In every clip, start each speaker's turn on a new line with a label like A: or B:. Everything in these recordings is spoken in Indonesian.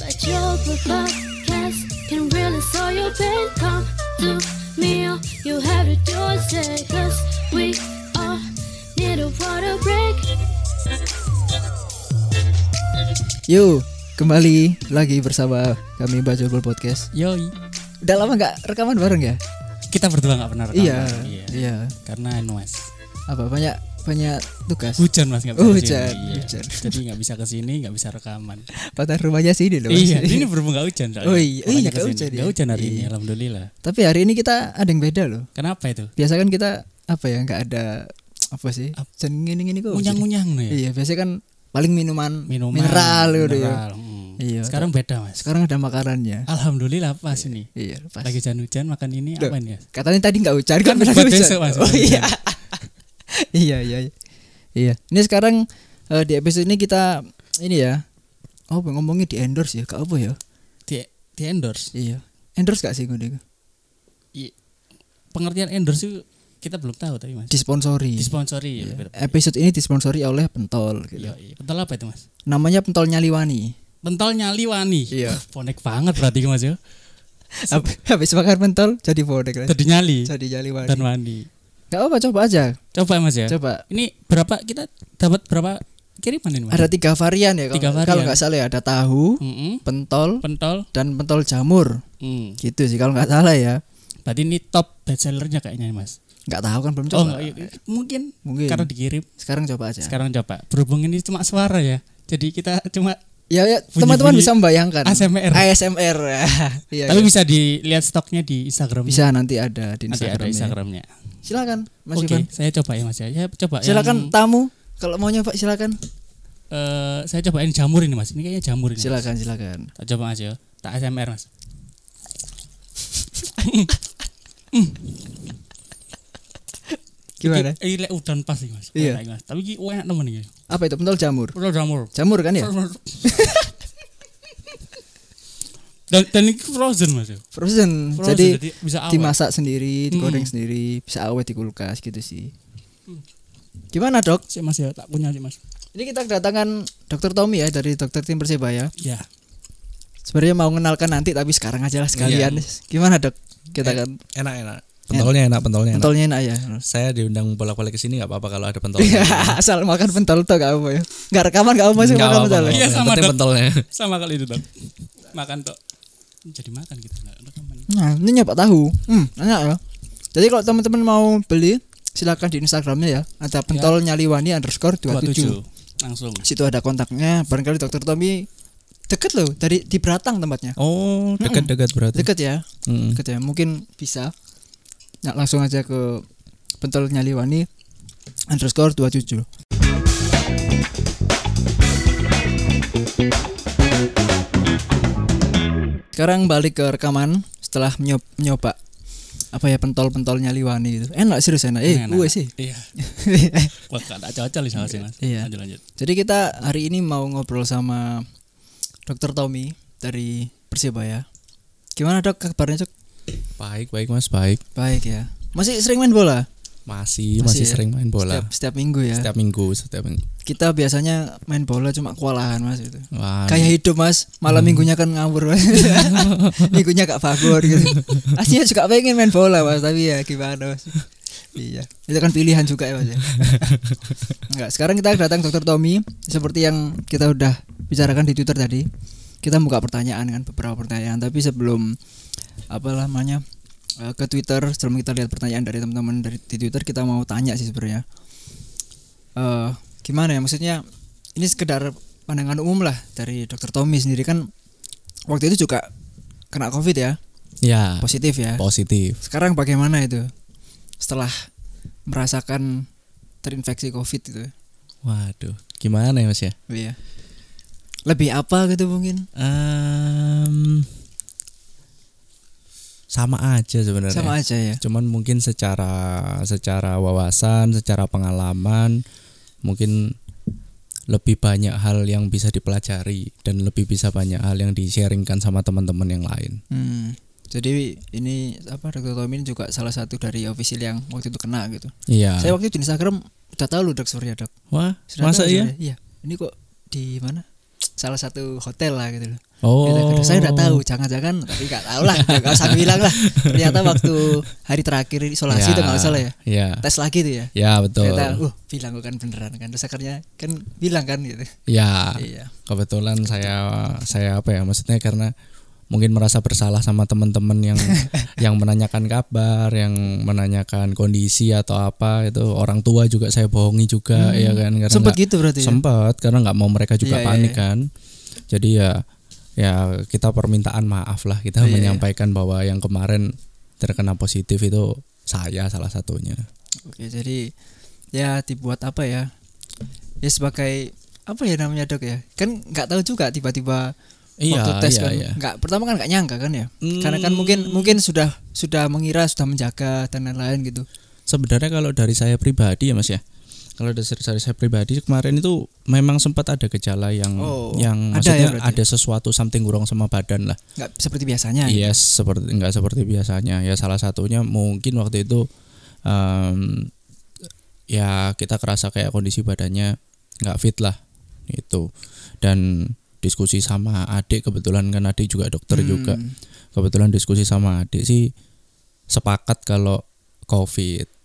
A: couple podcasts can really solve your pain. Come to me, or you have to do it, say, 'cause we all need a water break.
B: Yo, kembali lagi bersama kami Bajobel Podcast.
C: Yoi,
B: Udah lama nggak rekaman bareng ya?
C: kita berdua nggak pernah rekaman.
B: iya,
C: Iya.
B: iya.
C: Karena anu mas,
B: Apa banyak banyak tugas?
C: hujan mas nggak bisa.
B: Oh,
C: kesini.
B: hujan,
C: Iya.
B: hujan.
C: Jadi nggak bisa kesini, nggak bisa rekaman.
B: Patah rumahnya sini loh. Mas.
C: iya, ini berhubung nggak hujan. soalnya.
B: Oh, iya.
C: Makanya
B: Iya, nggak
C: kesini.
B: hujan ya.
C: Nggak hujan hari ini,
B: Iya.
C: alhamdulillah.
B: Tapi hari ini kita ada yang beda loh.
C: Kenapa itu?
B: Biasa kan kita apa ya nggak ada apa sih?
C: Ap-
B: Jangan gini-gini kok.
C: Unyang-unyang nih. ya?
B: Iya, biasanya kan paling minuman,
C: Minuman,
B: mineral gitu ya.
C: mineral, hmm.
B: Iya,
C: Sekarang beda mas.
B: Sekarang ada makarannya.
C: Alhamdulillah pas ini.
B: Iya, pas.
C: Lagi hujan-hujan makan ini
B: Loh.
C: apa ini ya?
B: Katanya tadi nggak hujan kan
C: Kan
B: berarti
C: buat
B: hujan.
C: besok, Mas.
B: Oh iya. iya iya iya. Iya. Ini sekarang eh, di episode ini kita ini ya. Oh, ngomongnya di endorse ya, Kak apa ya?
C: Di, di endorse.
B: Iya. Endorse gak sih gue deh?
C: I- Pengertian endorse itu kita belum tahu tapi mas.
B: Disponsori.
C: Disponsori. Iya. ya, beda-
B: Episode ini disponsori oleh Pentol Iya. gitu.
C: Yoi. Pentol apa itu mas?
B: Namanya Pentol Nyaliwani.
C: Pentol nyali wani.
B: Iya.
C: Ponek banget berarti mas ya.
B: Hab- Habis bakar pentol jadi bodek lah.
C: Jadi nyali
B: Eh, Jadi Nyaliwani.
C: dan wani.
B: Gak apa coba aja.
C: Coba mas ya.
B: Coba.
C: Ini berapa kita dapat berapa kiriman ini mas?
B: Ada tiga varian ya kalau
C: Tiga varian. Hmm.
B: kalau nggak salah ya ada tahu,
C: Mm-mm.
B: pentol,
C: Pentol.
B: dan pentol jamur.
C: Mm.
B: Gitu sih kalau nggak salah ya.
C: Berarti ini top best sellernya kayaknya mas.
B: nggak tahu kan belum
C: Oh
B: coba
C: enggak, iya, iya. mungkin
B: mungkin Ya.
C: karena dikirim.
B: sekarang coba aja
C: Sekarang coba. Berhubung ini cuma suara ya. Jadi kita cuma
B: ya ya, teman-teman
C: Bunyi-bunyi
B: bisa membayangkan
C: ASMR.
B: ASMR Iya,
C: Tapi
B: iya.
C: bisa dilihat stoknya di Instagram.
B: bisa nanti ada di
C: Nanti
B: Instagram
C: ada Instagramnya.
B: silakan Mas
C: Oke,
B: Ivan
C: saya coba ya mas ya. Ya coba.
B: silakan
C: yang,
B: tamu kalau mau nyoba silakan
C: eh, saya cobain jamur ini mas. Ini kayaknya jamur ini.
B: silakan silakan
C: Tak coba mas ya. Tak ASMR mas.
B: gimana
C: Iki- Iki eh, lek udan pas iki mas.
B: Iya.
C: Enak iki, mas. Tapi iki enak temen iki.
B: apa itu pentol jamur
C: Perlu jamur.
B: jamur kan ya
C: dan dan ini frozen mas. ya.
B: frozen,
C: Frozen,
B: jadi
C: bisa awet.
B: dimasak sendiri digoreng
C: Mm.
B: sendiri bisa awet di kulkas gitu sih
C: Hmm.
B: gimana dok
C: Sik, mas ya tak punya sih mas.
B: ini kita kedatangan dokter Tommy ya dari dokter tim persebaya
C: Ya.
B: Sebenarnya mau mengenalkan nanti tapi sekarang aja lah sekalian. Gimana dok? Kita kan
D: Iya. Eh, enak enak pentolnya enak pentolnya enak
B: pentolnya enak ya.
D: saya diundang bolak balik ke sini nggak apa apa kalau ada
B: Iya,
D: pentolnya
B: Asal makan pentol tuh gak apa ya. Gak rekaman gak apa sih
D: Nggak
B: makan
D: apa-apa,
B: pentol.
D: nggak
C: Iya,
D: apa-apa.
C: sama,
D: Penting
C: Dok.
D: pentolnya
C: Sama kali itu dok. Makan tuh. Jadi makan gitu nggak rekaman.
B: Nah ini nyoba tahu. Hmm enak ya. Jadi kalau teman-teman mau beli silakan di Instagramnya ya. Ada pentol nyaliwani underscore 27.
C: 27. Langsung.
B: Situ ada kontaknya. Barangkali dokter Tommy deket loh dari di Beratang tempatnya.
D: oh dekat dekat berarti
B: Deket ya.
C: Hmm.
D: Mm.
B: deket ya mungkin bisa nah, langsung aja ke pentol nyaliwani underscore 27 sekarang balik ke rekaman setelah menyob- menyoba apa ya pentol-pentol nyaliwani gitu enak serius enak eh
C: Enak.
B: gue sih
C: Iya. Wah, nggak cocok nih sama sih mas.
B: Iya.
C: Lanjut lanjut.
B: jadi kita hari ini mau ngobrol sama dokter Tommy dari Persebaya gimana dok kabarnya cok
D: baik baik mas baik
B: baik ya masih sering main bola
D: masih
B: Masih
D: masih
B: ya?
D: sering main bola
B: Setiap, setiap minggu ya.
D: setiap minggu setiap minggu
B: Kita biasanya main bola cuma kewalahan mas itu.
D: wah
B: Kayak hidup mas,
D: Hmm.
B: malam minggunya kan ngawur mas. minggunya gak fagor gitu. Aslinya juga pengen main bola mas, tapi ya gimana mas. iya, itu kan pilihan juga ya mas. ya. Enggak, sekarang kita datang dokter Tommy seperti yang kita udah bicarakan di Twitter tadi. Kita buka pertanyaan kan beberapa pertanyaan, tapi sebelum apa namanya eh, ke Twitter sebelum kita lihat pertanyaan dari teman-teman dari di Twitter kita mau tanya sih sebenarnya eh gimana ya maksudnya ini sekedar pandangan umum lah dari dokter Tommy sendiri kan waktu itu juga kena covid ya
D: ya
B: positif ya
D: positif
B: sekarang bagaimana itu setelah merasakan terinfeksi covid itu
D: waduh gimana ya mas ya
B: iya lebih apa gitu mungkin
D: Em, sama aja sebenarnya
B: sama aja ya
D: cuman mungkin secara secara wawasan secara pengalaman mungkin lebih banyak hal yang bisa dipelajari dan lebih bisa banyak hal yang di-sharingkan sama teman-teman yang lain
B: Hmm. Jadi ini apa Dr. Tommy ini juga salah satu dari official yang waktu itu kena gitu.
D: iya
B: Saya waktu itu di Instagram udah tahu loh Dok Surya Dok.
D: wah
B: Sudah
D: masa
B: tahu
D: iya
B: Surya? Iya. Ini kok di mana? Salah satu hotel lah gitu loh.
D: Oh.
B: Gitu. Saya nggak tahu, jangan-jangan tapi nggak tahu lah, nggak usah bilang lah. Ternyata waktu hari terakhir isolasi itu nggak salah ya,
D: Iya.
B: tes lagi tuh ya.
D: Ya, betul.
B: Ternyata, uh, bilang gue kan beneran kan. Terus akhirnya kan bilang kan gitu.
D: Ya.
B: Iya.
D: Kebetulan saya saya apa ya maksudnya karena mungkin merasa bersalah sama teman-teman yang yang menanyakan kabar, yang menanyakan kondisi atau apa itu orang tua juga saya bohongi juga ya kan karena
B: Sempet
D: nggak-
B: gitu berarti ya?
D: Sempet, karena nggak mau mereka juga
B: Iya, iya,
D: panik
B: iya.
D: kan. Jadi ya ya kita permintaan maaf lah
B: Iya,
D: kita
B: iya.
D: menyampaikan bahwa yang kemarin terkena positif itu saya salah satunya.
B: Oke, jadi ya dibuat apa ya? Ya sebagai apa ya namanya dok ya? Kan nggak tahu juga tiba-tiba
D: Iya,
B: waktu tes kan. Nggak pertama kan nggak nyangka kan ya?
D: Hmm.
B: Karena kan mungkin mungkin sudah sudah mengira sudah menjaga dan lain-lain gitu.
D: sebenarnya kalau dari saya pribadi ya mas ya kalau dari, dari saya pribadi kemarin itu memang sempat ada gejala yang
B: Oh, ada
D: yang maksudnya
B: ya berarti?
D: ada sesuatu something kurang sama badan lah
B: Nggak seperti biasanya. ya?
D: Iya, seperti nggak seperti biasanya. Ya salah satunya mungkin waktu itu em, ya kita kerasa kayak kondisi badannya nggak fit lah itu. Dan diskusi sama adik kebetulan kan adik juga dokter
B: Hmm.
D: juga. Kebetulan diskusi sama adik sih sepakat kalau COVID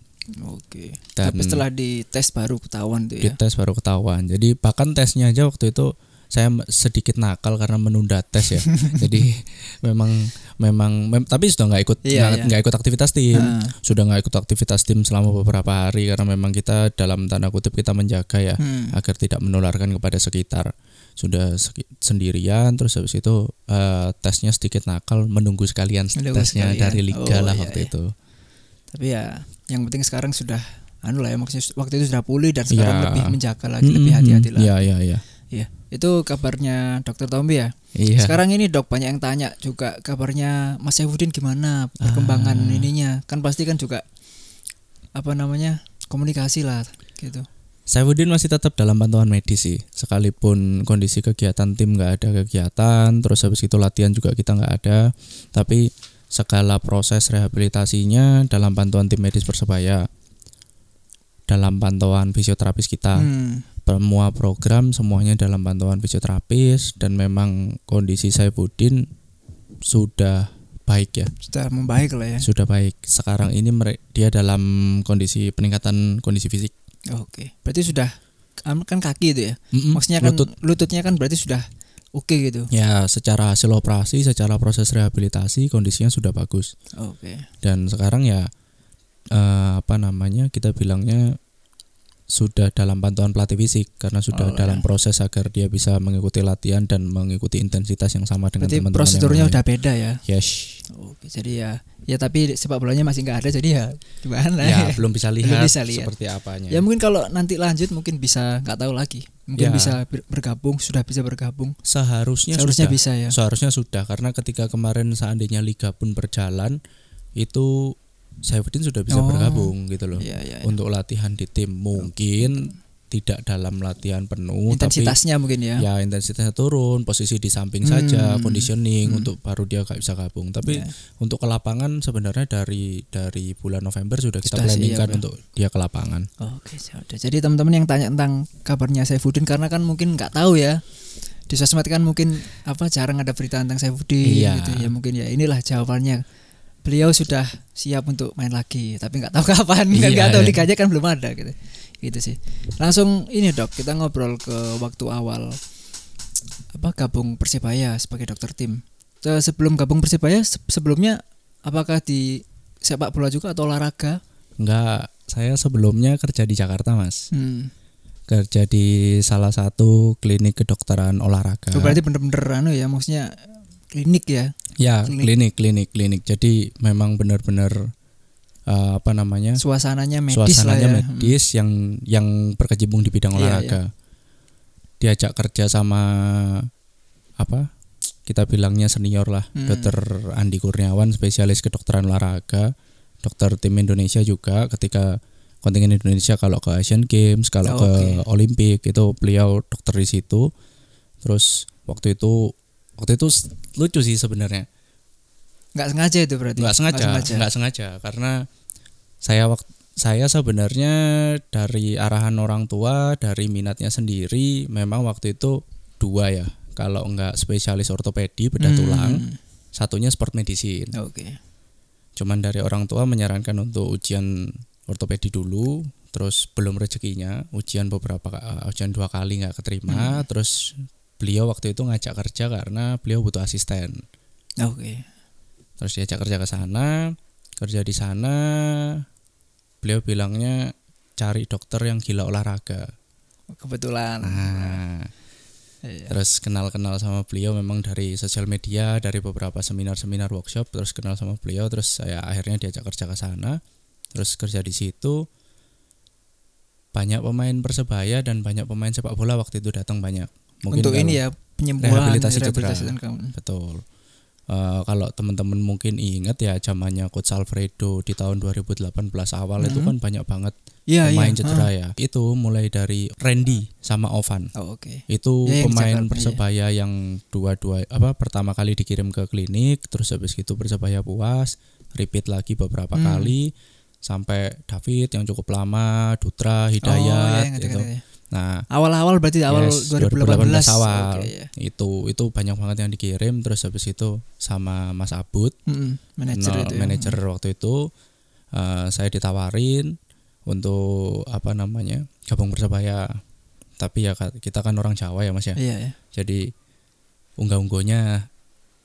B: Oke.
D: Dan-
B: Tapi setelah dites baru ketahuan tuh ya.
D: dites baru ketahuan. Jadi bahkan tesnya aja waktu itu saya m- sedikit nakal karena menunda tes ya. Jadi memang memang mem- tapi sudah nggak ikut
B: Iya,
D: nggak
B: iya.
D: nggak ikut aktivitas tim.
B: Ah.
D: Sudah nggak ikut aktivitas tim selama beberapa hari karena memang kita dalam tanda kutip kita menjaga ya
B: Hmm.
D: agar tidak menularkan kepada sekitar. Sudah seki- sendirian terus habis itu eh, tesnya sedikit nakal menunggu sekalian
B: Menunggu
D: tesnya
B: sekalian.
D: dari liga
B: Oh,
D: lah
B: iya,
D: waktu
B: iya.
D: itu.
B: Tapi ya yang penting sekarang sudah anu lah ya maksudnya waktu itu sudah pulih dan sekarang
D: Ya.
B: lebih menjaga lagi, lebih hati-hati lah. Iya.
D: Iya iya iya.
B: Itu kabarnya Dokter Tombi ya.
D: Iya.
B: Sekarang ini dok banyak yang tanya juga kabarnya Mas Saifuddin gimana perkembangan
D: Ah.
B: ininya. Kan pasti kan juga apa namanya? komunikasi lah gitu.
D: Saifuddin masih tetap dalam pantauan medis sih, sekalipun kondisi kegiatan tim nggak ada kegiatan, terus habis itu latihan juga kita nggak ada, tapi segala proses rehabilitasinya dalam pantauan tim medis persebaya, dalam pantauan fisioterapis kita,
B: Hmm.
D: semua program semuanya dalam pantauan fisioterapis dan memang kondisi Saifuddin sudah baik ya,
B: Sudah membaik lah ya.
D: sudah baik. Sekarang ini mere- dia dalam kondisi peningkatan kondisi fisik.
B: Oke. Berarti sudah kan kaki itu ya.
D: Mm-mm,
B: Maksudnya kan
D: Hmm, lutut.
B: lututnya kan berarti sudah oke gitu.
D: Ya, secara hasil operasi, secara proses rehabilitasi kondisinya sudah bagus.
B: Oke.
D: Dan sekarang ya eh, apa namanya? Kita bilangnya sudah dalam pantauan pelatih fisik karena
B: Oh,
D: sudah dalam
B: ya.
D: proses agar dia bisa mengikuti latihan dan mengikuti intensitas yang sama dengan
B: Berarti
D: teman-teman yang
B: prosedurnya
D: lain.
B: udah beda ya.
D: Yes.
B: Oke, jadi ya ya tapi sepak bolanya masih nggak ada jadi ya gimana ya?
D: Ya, belum bisa lihat,
B: Belum bisa lihat.
D: seperti apanya.
B: Ya mungkin kalau nanti lanjut mungkin bisa nggak tahu lagi. Mungkin
D: Ya.
B: bisa ber- bergabung, sudah bisa bergabung.
D: seharusnya
B: Seharusnya
D: sudah.
B: bisa ya.
D: Seharusnya sudah karena ketika kemarin seandainya liga pun berjalan itu Saifuddin sudah bisa
B: Oh.
D: bergabung gitu loh.
B: Iya, iya, iya.
D: untuk latihan di tim mungkin tidak dalam latihan penuh
B: Intensitasnya mungkin ya. Hmm.
D: tapi ya intensitasnya turun posisi di samping saja conditioning untuk baru dia nggak bisa gabung tapi
B: Ya.
D: untuk ke lapangan sebenarnya dari dari bulan November sudah kita
B: Sudah sih, iya,
D: planningkan
B: Pak.
D: untuk dia ke lapangan
B: Oke, sudah. Jadi teman-teman yang tanya tentang kabarnya Saifuddin karena kan mungkin nggak tahu ya. Di sosmed kan mungkin apa jarang ada berita tentang Saifuddin
D: Iya.
B: gitu ya. Mungkin ya inilah jawabannya. Beliau sudah siap untuk main lagi, tapi nggak tahu kapan. Kan
D: Iya,
B: nggak tahu
D: iya.
B: liganya kan belum ada gitu. Gitu sih. Langsung ini, Dok, kita ngobrol ke waktu awal apa gabung Persibaya sebagai dokter tim. Se- Sebelum gabung Persibaya se- sebelumnya apakah di sepak bola juga atau olahraga?
D: nggak saya sebelumnya kerja di Jakarta mas
B: Hmm.
D: kerja di salah satu klinik kedokteran olahraga
B: Oh, berarti bener-bener anu ya maksudnya klinik ya.
D: ya
B: klinik.
D: klinik klinik klinik jadi memang benar-benar eh, apa namanya
B: Suasananya medis
D: suasananya
B: lah ya.
D: medis yang yang berkecimpung di bidang
B: Iya,
D: olahraga. Diajak kerja sama apa? Kita bilangnya senior lah,
B: Hmm.
D: Dokter Andi Kurniawan spesialis kedokteran olahraga, dokter tim Indonesia juga ketika kontingen Indonesia kalau ke Asian Games, kalau
B: Oh,
D: ke
B: oke.
D: Olimpik itu beliau dokter di situ. Terus waktu itu waktu itu s- lucu sih sebenarnya
B: Enggak Hmm. sengaja itu berarti.
D: nggak sengaja
B: Nggak
D: nggak sengaja karena saya waktu saya sebenarnya dari arahan orang tua dari minatnya sendiri memang waktu itu dua ya kalau nggak spesialis ortopedi bedah
B: Hmm.
D: tulang satunya sport medicine
B: Oke.
D: cuman dari orang tua menyarankan untuk ujian ortopedi dulu terus belum rezekinya ujian beberapa ka- eh, ujian dua kali nggak keterima terus beliau waktu itu ngajak kerja karena beliau butuh asisten
B: Oke.
D: terus diajak kerja ke sana kerja di sana beliau bilangnya cari dokter yang gila olahraga
B: Kebetulan.
D: nah
B: Ah. Iya.
D: terus kenal-kenal sama beliau memang dari sosial media dari beberapa seminar-seminar workshop terus kenal sama beliau terus saya akhirnya diajak kerja ke sana terus kerja di situ banyak pemain persebaya dan banyak pemain sepak bola waktu itu datang banyak
B: Untuk
D: kalau-
B: ini ya penyembuhan
D: rehabilitasi cedera.
B: rehabilitasi kamu.
D: Betul. Eh, kalau teman-teman mungkin ingat ya zamannya Coach Alfredo di tahun 2018 awal itu
B: Mhm.
D: kan banyak banget
B: Iya iya.
D: pemain cedera
B: Ah.
D: ya. Itu mulai dari Randy sama Ovan.
B: Oh, oke.
D: Itu
B: Ya, yang
D: pemain
B: Jakarta,
D: Persebaya yang dua-dua apa pertama kali dikirim ke klinik, terus habis itu Persebaya puas, repeat lagi beberapa
B: Hmm.
D: kali sampai David yang cukup lama,
B: Oh,
D: Dutra,
B: iya,
D: Hidayat
B: ingat,
D: gitu.
B: ingat, ingat.
D: Nah,
B: Awal-awal berarti awal
D: Yes,
B: 2018.
D: 2018 awal.
B: Oke, iya.
D: itu itu banyak banget yang dikirim terus habis itu sama Mas Abud
B: Mm-mm, Hmm, Manajer
D: no-
B: itu. ya.
D: Nah, manajer waktu itu eh, saya ditawarin untuk apa namanya gabung persebaya tapi ya Kak, kita kan orang Jawa ya Mas ya
B: Iya ya.
D: jadi unggah-unggohnya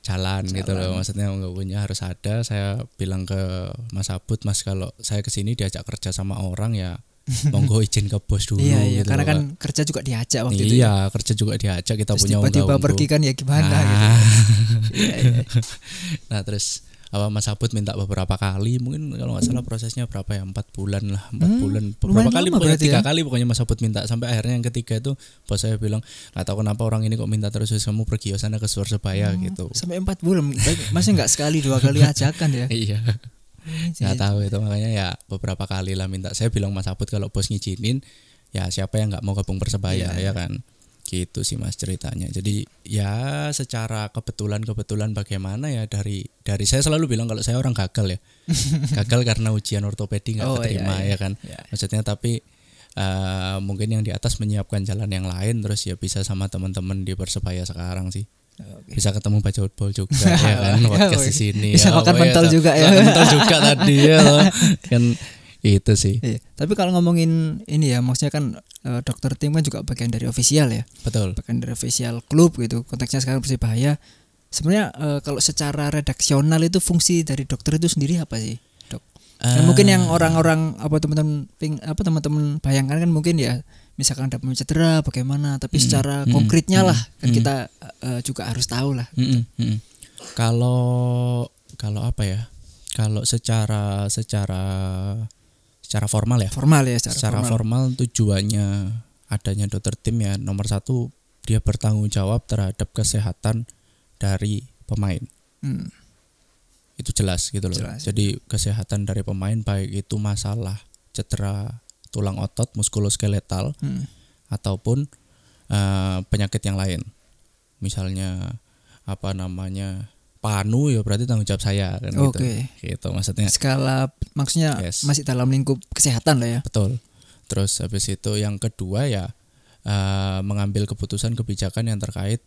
D: jalan,
B: Jalan.
D: gitu loh maksudnya unggah-unggohnya harus ada saya bilang ke Mas Abud Mas kalau saya kesini diajak kerja sama orang ya monggo izin ke bos dulu
B: Iya iya.
D: gitu
B: Karena
D: loh,
B: kan
D: Kak.
B: kerja juga diajak waktu itu. ya.
D: iya kerja juga diajak kita
B: Terus
D: punya
B: tiba-tiba
D: unggah-ungguh.
B: pergi kan ya gimana
D: nah,
B: gitu. Iya, iya.
D: nah terus apa Mas Abud minta beberapa kali mungkin kalau nggak salah prosesnya berapa ya empat bulan lah empat
B: Hmm,
D: bulan
B: lumayan
D: beberapa kali
B: lama
D: pokoknya
B: berarti
D: tiga
B: ya.
D: kali pokoknya Mas Abud minta sampai akhirnya yang ketiga itu bos saya bilang nggak tahu kenapa orang ini kok minta terus "Wis, kamu pergi ke sana ke Surabaya
B: Hmm.
D: gitu
B: Sampai empat bulan. Baik, Masih nggak sekali dua kali ajakan ya. Iya.
D: iya nggak
B: Gitu.
D: tahu itu makanya ya beberapa kali lah minta saya bilang Mas Abud kalau bos ngizinin ya siapa yang nggak mau
B: Iya.
D: gabung persebaya ya kan gitu sih mas ceritanya jadi ya secara kebetulan kebetulan bagaimana ya dari dari saya selalu bilang kalau saya orang gagal ya gagal karena ujian ortopedi nggak
B: Oh, iya,
D: keterima
B: iya.
D: ya kan
B: Iya.
D: maksudnya tapi eh, mungkin yang di atas menyiapkan jalan yang lain terus ya bisa sama teman-teman di persebaya sekarang sih
B: Iya, Oke.
D: bisa ketemu baca football juga ya kan podcast di sini
B: Iya, Bisa
D: ya,
B: makan
D: pokoknya
B: pentol
D: tak-
B: juga ya.
D: makan pentol juga tadi ya loh. kan itu sih
B: Iya, tapi kalau ngomongin ini ya, maksudnya kan eh, dokter tim kan juga bagian dari ofisial ya,
D: betul
B: bagian dari ofisial klub gitu. Konteksnya sekarang persebaya. Sebenarnya eh, kalau secara redaksional itu fungsi dari dokter itu sendiri apa sih, dok?
D: Eh.
B: Nah, mungkin yang orang-orang apa teman-teman ping- apa teman-teman bayangkan kan mungkin ya, misalkan ada pemain cedera bagaimana, tapi secara
D: hmm,
B: konkretnya
D: hmm,
B: lah kan
D: hmm.
B: kita eh, juga harus tahu lah.
D: Ah, Mm-mm, mm-mm. kalau kalau apa ya kalau secara secara secara formal ya
B: Formal ya secara,
D: secara
B: formal.
D: formal. tujuannya adanya dokter tim ya nomor satu dia bertanggung jawab terhadap kesehatan dari pemain
B: Hmm,
D: itu jelas gitu loh.
B: Jelas. iya.
D: Jadi kesehatan dari pemain baik itu masalah cedera tulang otot, muskuloskeletal
B: hmm.
D: ataupun eh, penyakit yang lain. Misalnya apa namanya? panu ya berarti tanggung jawab saya kan gitu.
B: Oke.
D: Gitu maksudnya.
B: Skala maksudnya
D: Yes.
B: masih dalam lingkup kesehatan lah ya.
D: Betul. Terus habis itu yang kedua ya eh, mengambil keputusan kebijakan yang terkait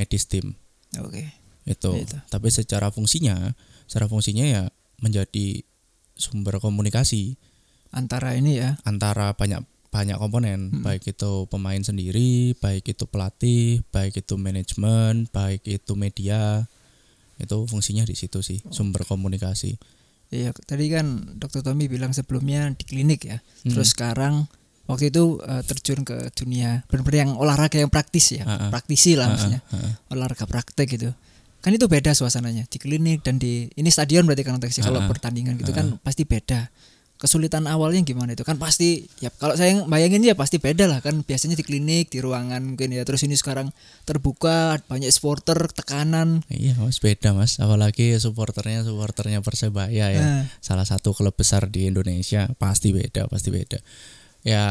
D: medis tim.
B: Oke.
D: itu.
B: Iya, Itu.
D: Tapi secara fungsinya, secara fungsinya ya menjadi sumber komunikasi
B: Antara ini ya.
D: antara banyak banyak komponen,
B: Hmm.
D: baik itu pemain sendiri, baik itu pelatih, baik itu manajemen, baik itu media. Itu fungsinya di situ sih, sumber komunikasi.
B: Iya, tadi kan Dokter Tommy bilang sebelumnya di klinik ya.
D: Hmm.
B: Terus sekarang waktu itu eh, terjun ke dunia benar-benar yang olahraga yang praktis ya,
D: Ah, ah.
B: praktisi lah
D: Ah, ah,
B: maksudnya,
D: ah, ah.
B: olahraga praktek gitu. Kan itu beda suasananya di klinik dan di ini stadion berarti kan konteksnya kalau
D: Ah, ah.
B: pertandingan gitu kan pasti beda. Kesulitan awalnya gimana itu kan pasti ya kalau saya bayangin ya pasti beda lah kan biasanya di klinik di ruangan mungkin ya terus ini sekarang terbuka banyak supporter tekanan
D: Iya, Mas, beda, Mas. Apalagi supporternya supporternya Persebaya ya.
B: Nah,
D: salah satu klub besar di Indonesia pasti beda pasti beda ya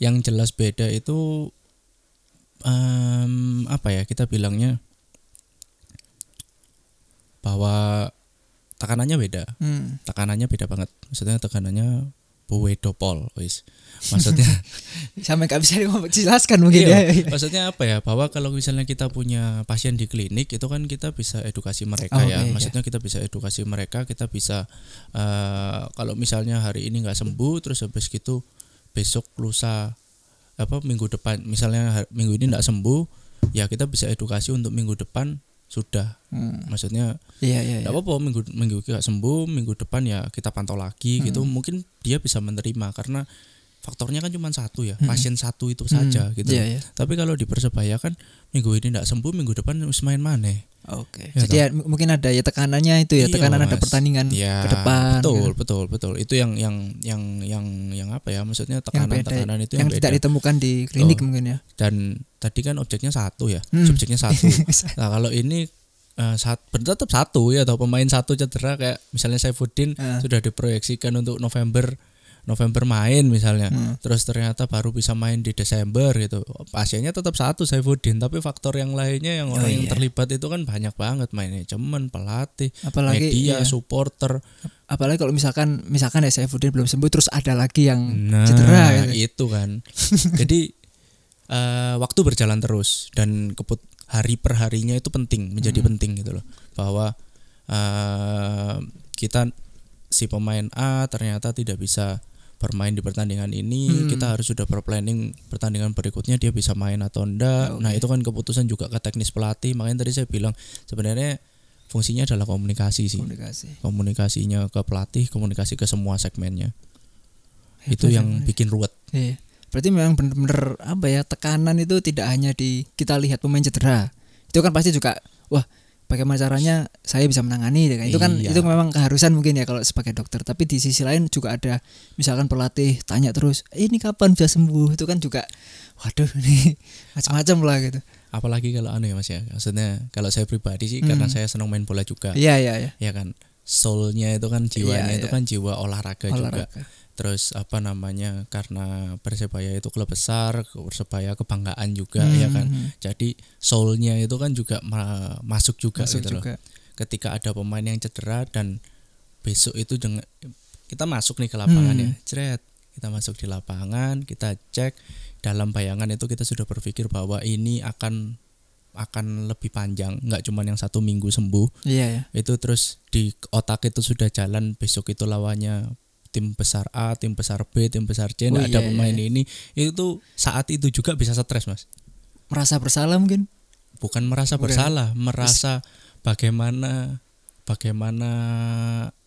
D: yang jelas beda itu em, apa ya kita bilangnya bahwa tekanannya beda
B: hmm,
D: tekanannya beda banget maksudnya tekanannya Boedopol wis maksudnya
B: sampai nggak bisa dijelaskan mungkin
D: Iya,
B: ya.
D: maksudnya apa ya bahwa kalau misalnya kita punya pasien di klinik itu kan kita bisa edukasi mereka
B: Oh, iya,
D: ya
B: iya.
D: maksudnya kita bisa edukasi mereka kita bisa eh, kalau misalnya hari ini nggak sembuh terus habis gitu besok lusa apa minggu depan misalnya har- minggu ini nggak sembuh ya kita bisa edukasi untuk minggu depan sudah
B: Hmm.
D: maksudnya
B: Iya iya. iya.
D: nggak apa-apa minggu minggu ini nggak sembuh minggu depan ya kita pantau lagi
B: Hmm.
D: gitu mungkin dia bisa menerima karena faktornya kan cuma satu ya pasien satu itu
B: Hmm.
D: saja gitu
B: Iya iya.
D: tapi kalau di Persebaya kan minggu ini tidak sembuh, minggu depan harus main maneh.
B: Oke.
D: Iya,
B: Jadi ya, m- mungkin ada ya tekanannya itu ya,
D: Iya,
B: tekanan ada
D: Mas. Iya,
B: pertandingan ke depan.
D: Betul,
B: gitu.
D: betul, betul. Itu yang yang yang yang yang apa ya? Maksudnya
B: Yang beda,
D: tekanan-tekanan itu
B: yang,
D: yang,
B: tidak
D: beda.
B: ditemukan di klinik
D: Betul.
B: mungkin ya.
D: Dan tadi kan objeknya satu ya,
B: Hmm.
D: subjeknya satu. nah, kalau ini eh, saat tetap satu ya atau pemain satu cedera kayak misalnya Saifuddin
B: Eh.
D: sudah diproyeksikan untuk November November main misalnya,
B: Hmm.
D: terus ternyata baru bisa main di Desember gitu. Pasiennya tetap satu Saifuddin, tapi faktor yang lainnya yang
B: Oh,
D: orang yang
B: iya.
D: terlibat itu kan banyak banget manajemen, pelatih,
B: Apalagi
D: media,
B: iya.
D: supporter.
B: apalagi kalau misalkan misalkan ya Saifuddin belum sembuh terus ada lagi yang
D: Nah,
B: cedera gitu.
D: itu kan. Jadi eh, waktu berjalan terus dan keput hari per harinya itu penting, menjadi
B: Hmm.
D: penting gitu loh. Bahwa eh, kita si pemain A ternyata tidak bisa bermain di pertandingan ini,
B: Hmm.
D: kita harus sudah berplanning pertandingan berikutnya dia bisa main atau
B: Ah,
D: enggak.
B: Oke.
D: Nah, itu kan keputusan juga ke teknis pelatih. Makanya tadi saya bilang sebenarnya fungsinya adalah komunikasi sih
B: komunikasi.
D: komunikasinya ke pelatih, komunikasi ke semua segmennya.
B: Hebat
D: itu
B: ya,
D: yang
B: Mas.
D: bikin ruwet.
B: Iya. Berarti memang benar-benar apa ya tekanan itu tidak hanya di kita lihat pemain cedera. Itu kan pasti juga wah bagaimana caranya saya bisa menangani ya kan. Itu kan
D: Iya.
B: itu memang keharusan mungkin ya kalau sebagai dokter. Tapi di sisi lain juga ada misalkan pelatih tanya terus, "Eh, "Ini kapan bisa sembuh?" Itu kan juga waduh nih macam-macam lah gitu.
D: Apalagi kalau anu ya Mas ya. Maksudnya kalau saya pribadi sih
B: Hmm.
D: karena saya senang main bola juga.
B: Iya iya iya.
D: Ya kan. Soulnya itu kan jiwanya
B: Iya,
D: itu
B: iya.
D: kan jiwa olahraga, juga.
B: Olahraga.
D: Terus apa namanya? Karena Persebaya itu klub besar, Persebaya kebanggaan juga
B: Hmm,
D: ya kan.
B: hmm.
D: Jadi soulnya itu kan juga ma- masuk juga
B: Masuk
D: gitu loh.
B: juga.
D: ketika ada pemain yang cedera dan besok itu dengan kita masuk nih ke lapangan
B: Hmm.
D: ya ceret kita masuk di lapangan kita cek dalam bayangan itu kita sudah berpikir bahwa ini akan akan lebih panjang nggak cuma yang satu minggu sembuh
B: Iya ya.
D: itu terus di otak itu sudah jalan besok itu lawannya tim besar A tim besar B tim besar C
B: Oh,
D: nah, ada
B: iya, iya,
D: pemain
B: iya.
D: ini itu saat itu juga bisa stres mas
B: Merasa bersalah mungkin.
D: bukan merasa
B: Bukan.
D: bersalah, merasa bagaimana bagaimana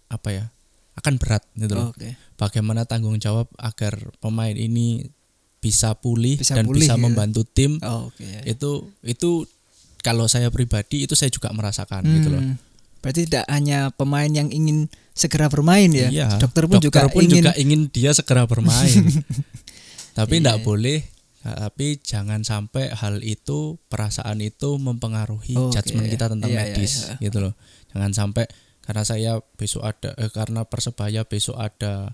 D: apa ya? akan berat gitu loh.
B: Oke.
D: Bagaimana tanggung jawab agar pemain ini bisa pulih
B: Bisa
D: dan
B: pulih,
D: bisa
B: gitu.
D: membantu tim.
B: Oke. ya, ya.
D: Itu itu kalau saya pribadi itu saya juga merasakan gitu loh.
B: Hmm. Berarti tidak hanya pemain yang ingin segera bermain ya.
D: Iya,
B: Dokter pun juga ingin
D: dia segera bermain. tapi
B: Iya.
D: tidak boleh tapi jangan sampai hal itu perasaan itu mempengaruhi
B: Oh, oke,
D: judgement
B: iya.
D: kita tentang
B: Iya, iya,
D: medis
B: iya.
D: gitu loh. Jangan sampai karena saya besok ada eh, karena persebaya besok ada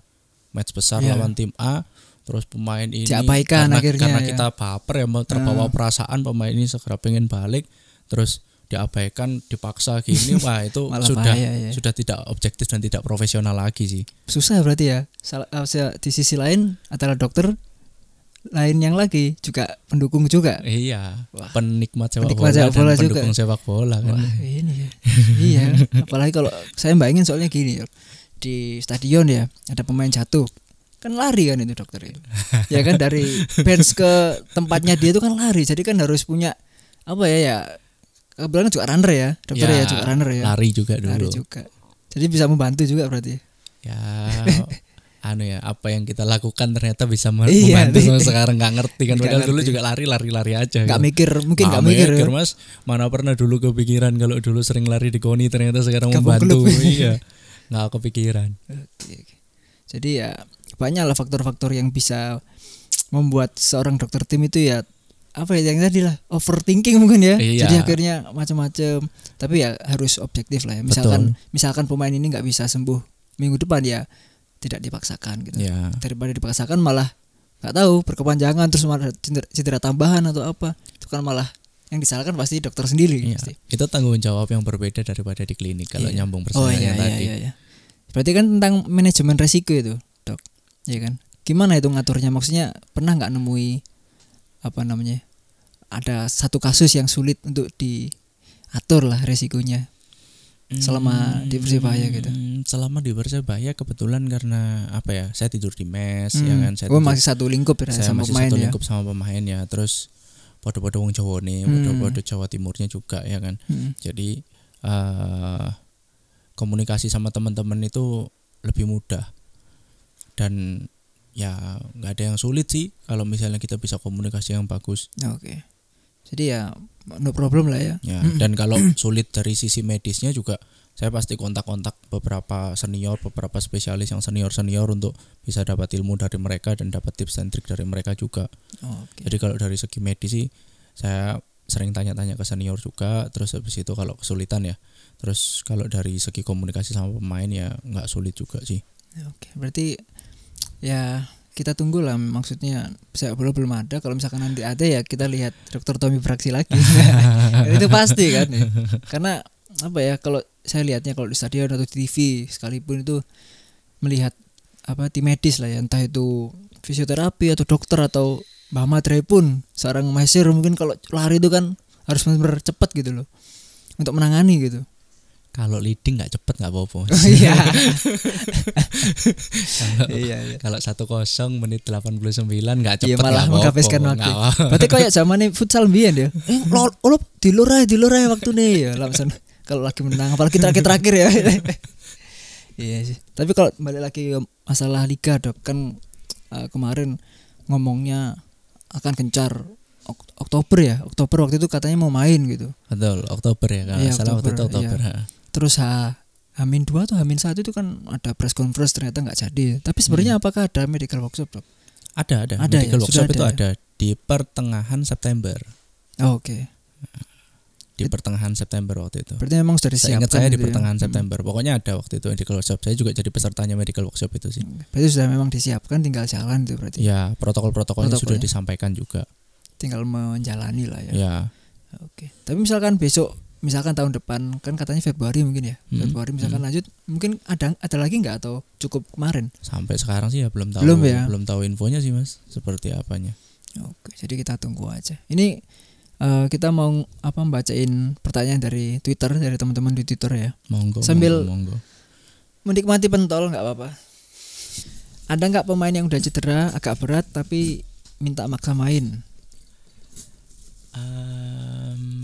D: match besar
B: Iya.
D: lawan tim A terus pemain ini
B: Diabaikan
D: karena,
B: akhirnya,
D: karena
B: ya. Ah.
D: kita baper ya mau terbawa perasaan pemain ini segera pengen balik terus diabaikan dipaksa gini wah itu
B: Malah
D: sudah
B: bahaya, ya.
D: sudah tidak objektif dan tidak profesional lagi sih
B: susah berarti ya. Salah- eh, se- di sisi lain antara dokter lain yang lagi juga pendukung juga.
D: Iya,
B: Wah.
D: penikmat sepak
B: Penikmat
D: bola,
B: sepak bola
D: dan
B: juga.
D: pendukung sepak bola kan.
B: Wah, ini ya. iya, apalagi kalau saya bayangin soalnya gini, Yor. di stadion ya ada pemain jatuh. Kan lari kan itu dokter itu. ya kan dari bench ke tempatnya dia itu kan lari. Jadi kan harus punya apa ya ya kebetulan juga runner ya, dokter ya, juga runner ya.
D: Iya. Lari juga dulu.
B: Lari juga. Jadi bisa membantu juga berarti.
D: Ya, anu ya, apa yang kita lakukan ternyata bisa me-
B: Iya,
D: membantu
B: nih.
D: sama sekarang nggak ngerti kan.
B: Nggak
D: Padahal dulu
B: ngerti.
D: juga lari, lari, lari aja.
B: Gak
D: gitu.
B: mikir, mungkin
D: Nggak
B: gak mikir. ya.
D: mas. Mana pernah dulu kepikiran kalau dulu sering lari di koni ternyata sekarang
B: Kampung
D: membantu.
B: klub.
D: iya, nggak kepikiran.
B: Oke, oke. Iya, Jadi ya banyak lah faktor-faktor yang bisa membuat seorang dokter tim itu ya apa ya yang tadi lah overthinking mungkin ya.
D: Iya.
B: Jadi akhirnya macam-macam. Tapi ya harus objektif lah ya. Misalkan misalkan pemain ini nggak bisa sembuh minggu depan ya tidak dipaksakan gitu.
D: Ya.
B: Daripada dipaksakan malah nggak tahu berkepanjangan terus malah cedera, cedera tambahan atau apa. Itu kan malah yang disalahkan pasti dokter sendiri
D: Iya.
B: pasti.
D: Itu tanggung jawab yang berbeda daripada di klinik kalau
B: Iya. Oh
D: nyambung persoalannya
B: iya, iya,
D: tadi.
B: iya, iya. Berarti kan tentang manajemen resiko itu, dok. ya kan gimana itu ngaturnya maksudnya pernah nggak nemui apa namanya ada satu kasus yang sulit untuk diatur lah resikonya Selama di Persebaya gitu.
D: Hmm, Selama di Persebaya kebetulan karena apa ya? Saya tidur di mes ya
B: Hmm.
D: kan. Saya
B: oh
D: tidur-
B: masih satu lingkup ya
D: saya
B: sama
D: masih
B: pemain
D: satu
B: ya
D: lingkup sama pemain ya. Terus podo-podo wong Jawa nih,
B: Hmm.
D: podo-podo Jawa Timurnya juga ya kan.
B: Mm.
D: Jadi eh komunikasi sama teman-teman itu lebih mudah dan ya nggak ada yang sulit sih kalau misalnya kita bisa komunikasi yang bagus
B: oke jadi ya no problem lah ya
D: ya
B: Mm.
D: dan kalau sulit dari sisi medisnya juga saya pasti kontak-kontak beberapa senior beberapa spesialis yang senior senior untuk bisa dapat ilmu dari mereka dan dapat tips dan trik dari mereka juga
B: oke
D: jadi kalau dari segi medis sih saya sering tanya-tanya ke senior juga, terus habis itu kalau kesulitan ya. Terus kalau dari segi komunikasi sama pemain ya nggak sulit juga sih.
B: oke berarti ya kita tunggu lah maksudnya saya belum belum ada kalau misalkan nanti ada ya kita lihat dokter Tommy Praksi lagi itu pasti kan ya. karena apa ya kalau saya lihatnya kalau di stadion atau di TV sekalipun itu melihat apa tim medis lah ya entah itu fisioterapi atau dokter atau Mbak Matre pun seorang Mesir mungkin kalau lari itu kan harus benar cepat gitu loh untuk menangani gitu
D: Kalau leading nggak cepet nggak apa-apa.
B: iya
D: Kalau-
B: iya iya
D: kalau satu kosong menit 89 nggak cepet
B: Iya, malah
D: nggak apa-apa.
B: menghabiskan waktu.
D: Nggak apa-
B: Berarti kayak zaman nih futsal biyen ya. Eh, lo lo di luar aja, di luar aja waktu nih ya langsung kalau lagi menang apalagi terakhir-terakhir ya. iya sih. Tapi kalau balik lagi ke masalah liga Dok, kan eh, kemarin ngomongnya akan gencar Ok- Oktober ya. Oktober waktu itu katanya mau main gitu.
D: Betul, Oktober ya kalau
B: Iya,
D: nggak salah waktu itu
B: Oktober,
D: Oktober.
B: iya.
D: ha.
B: Terus H Hamin 2 atau Hamin 1 itu kan ada press conference ternyata nggak jadi. Tapi sebenarnya apakah ada medical workshop, Dok?
D: Ada ada.
B: Ada ya,
D: Medical
B: sudah
D: workshop
B: ada
D: itu
B: ya.
D: ada di pertengahan September.
B: Oh, Oke.
D: Di pertengahan September waktu itu.
B: Berarti memang sudah
D: Saya
B: disiapkan.
D: ingat saya di
B: gitu ya.
D: pertengahan
B: Hmm.
D: September. Pokoknya ada waktu itu medical workshop. Saya juga jadi pesertanya medical workshop itu sih.
B: Berarti sudah memang disiapkan tinggal jalan itu berarti.
D: Ya, protokol-protokolnya sudah
B: Protokolnya.
D: disampaikan juga.
B: Tinggal menjalani lah ya.
D: Ya.
B: Oke. Tapi misalkan besok misalkan tahun depan kan katanya Februari mungkin ya.
D: Hmm.
B: Februari misalkan
D: Hmm.
B: lanjut mungkin ada ada lagi nggak atau cukup kemarin?
D: sampai sekarang sih ya belum tahu
B: Belum ya?
D: tahu infonya sih, Mas. Seperti apanya.
B: Oke. Jadi kita tunggu aja. Ini eh, kita mau apa bacain pertanyaan dari Twitter dari teman-teman di Twitter ya.
D: Monggo.
B: Sambil-
D: monggo, monggo.
B: Menikmati pentol nggak apa-apa. Ada nggak pemain yang udah cedera agak berat tapi minta maksa main?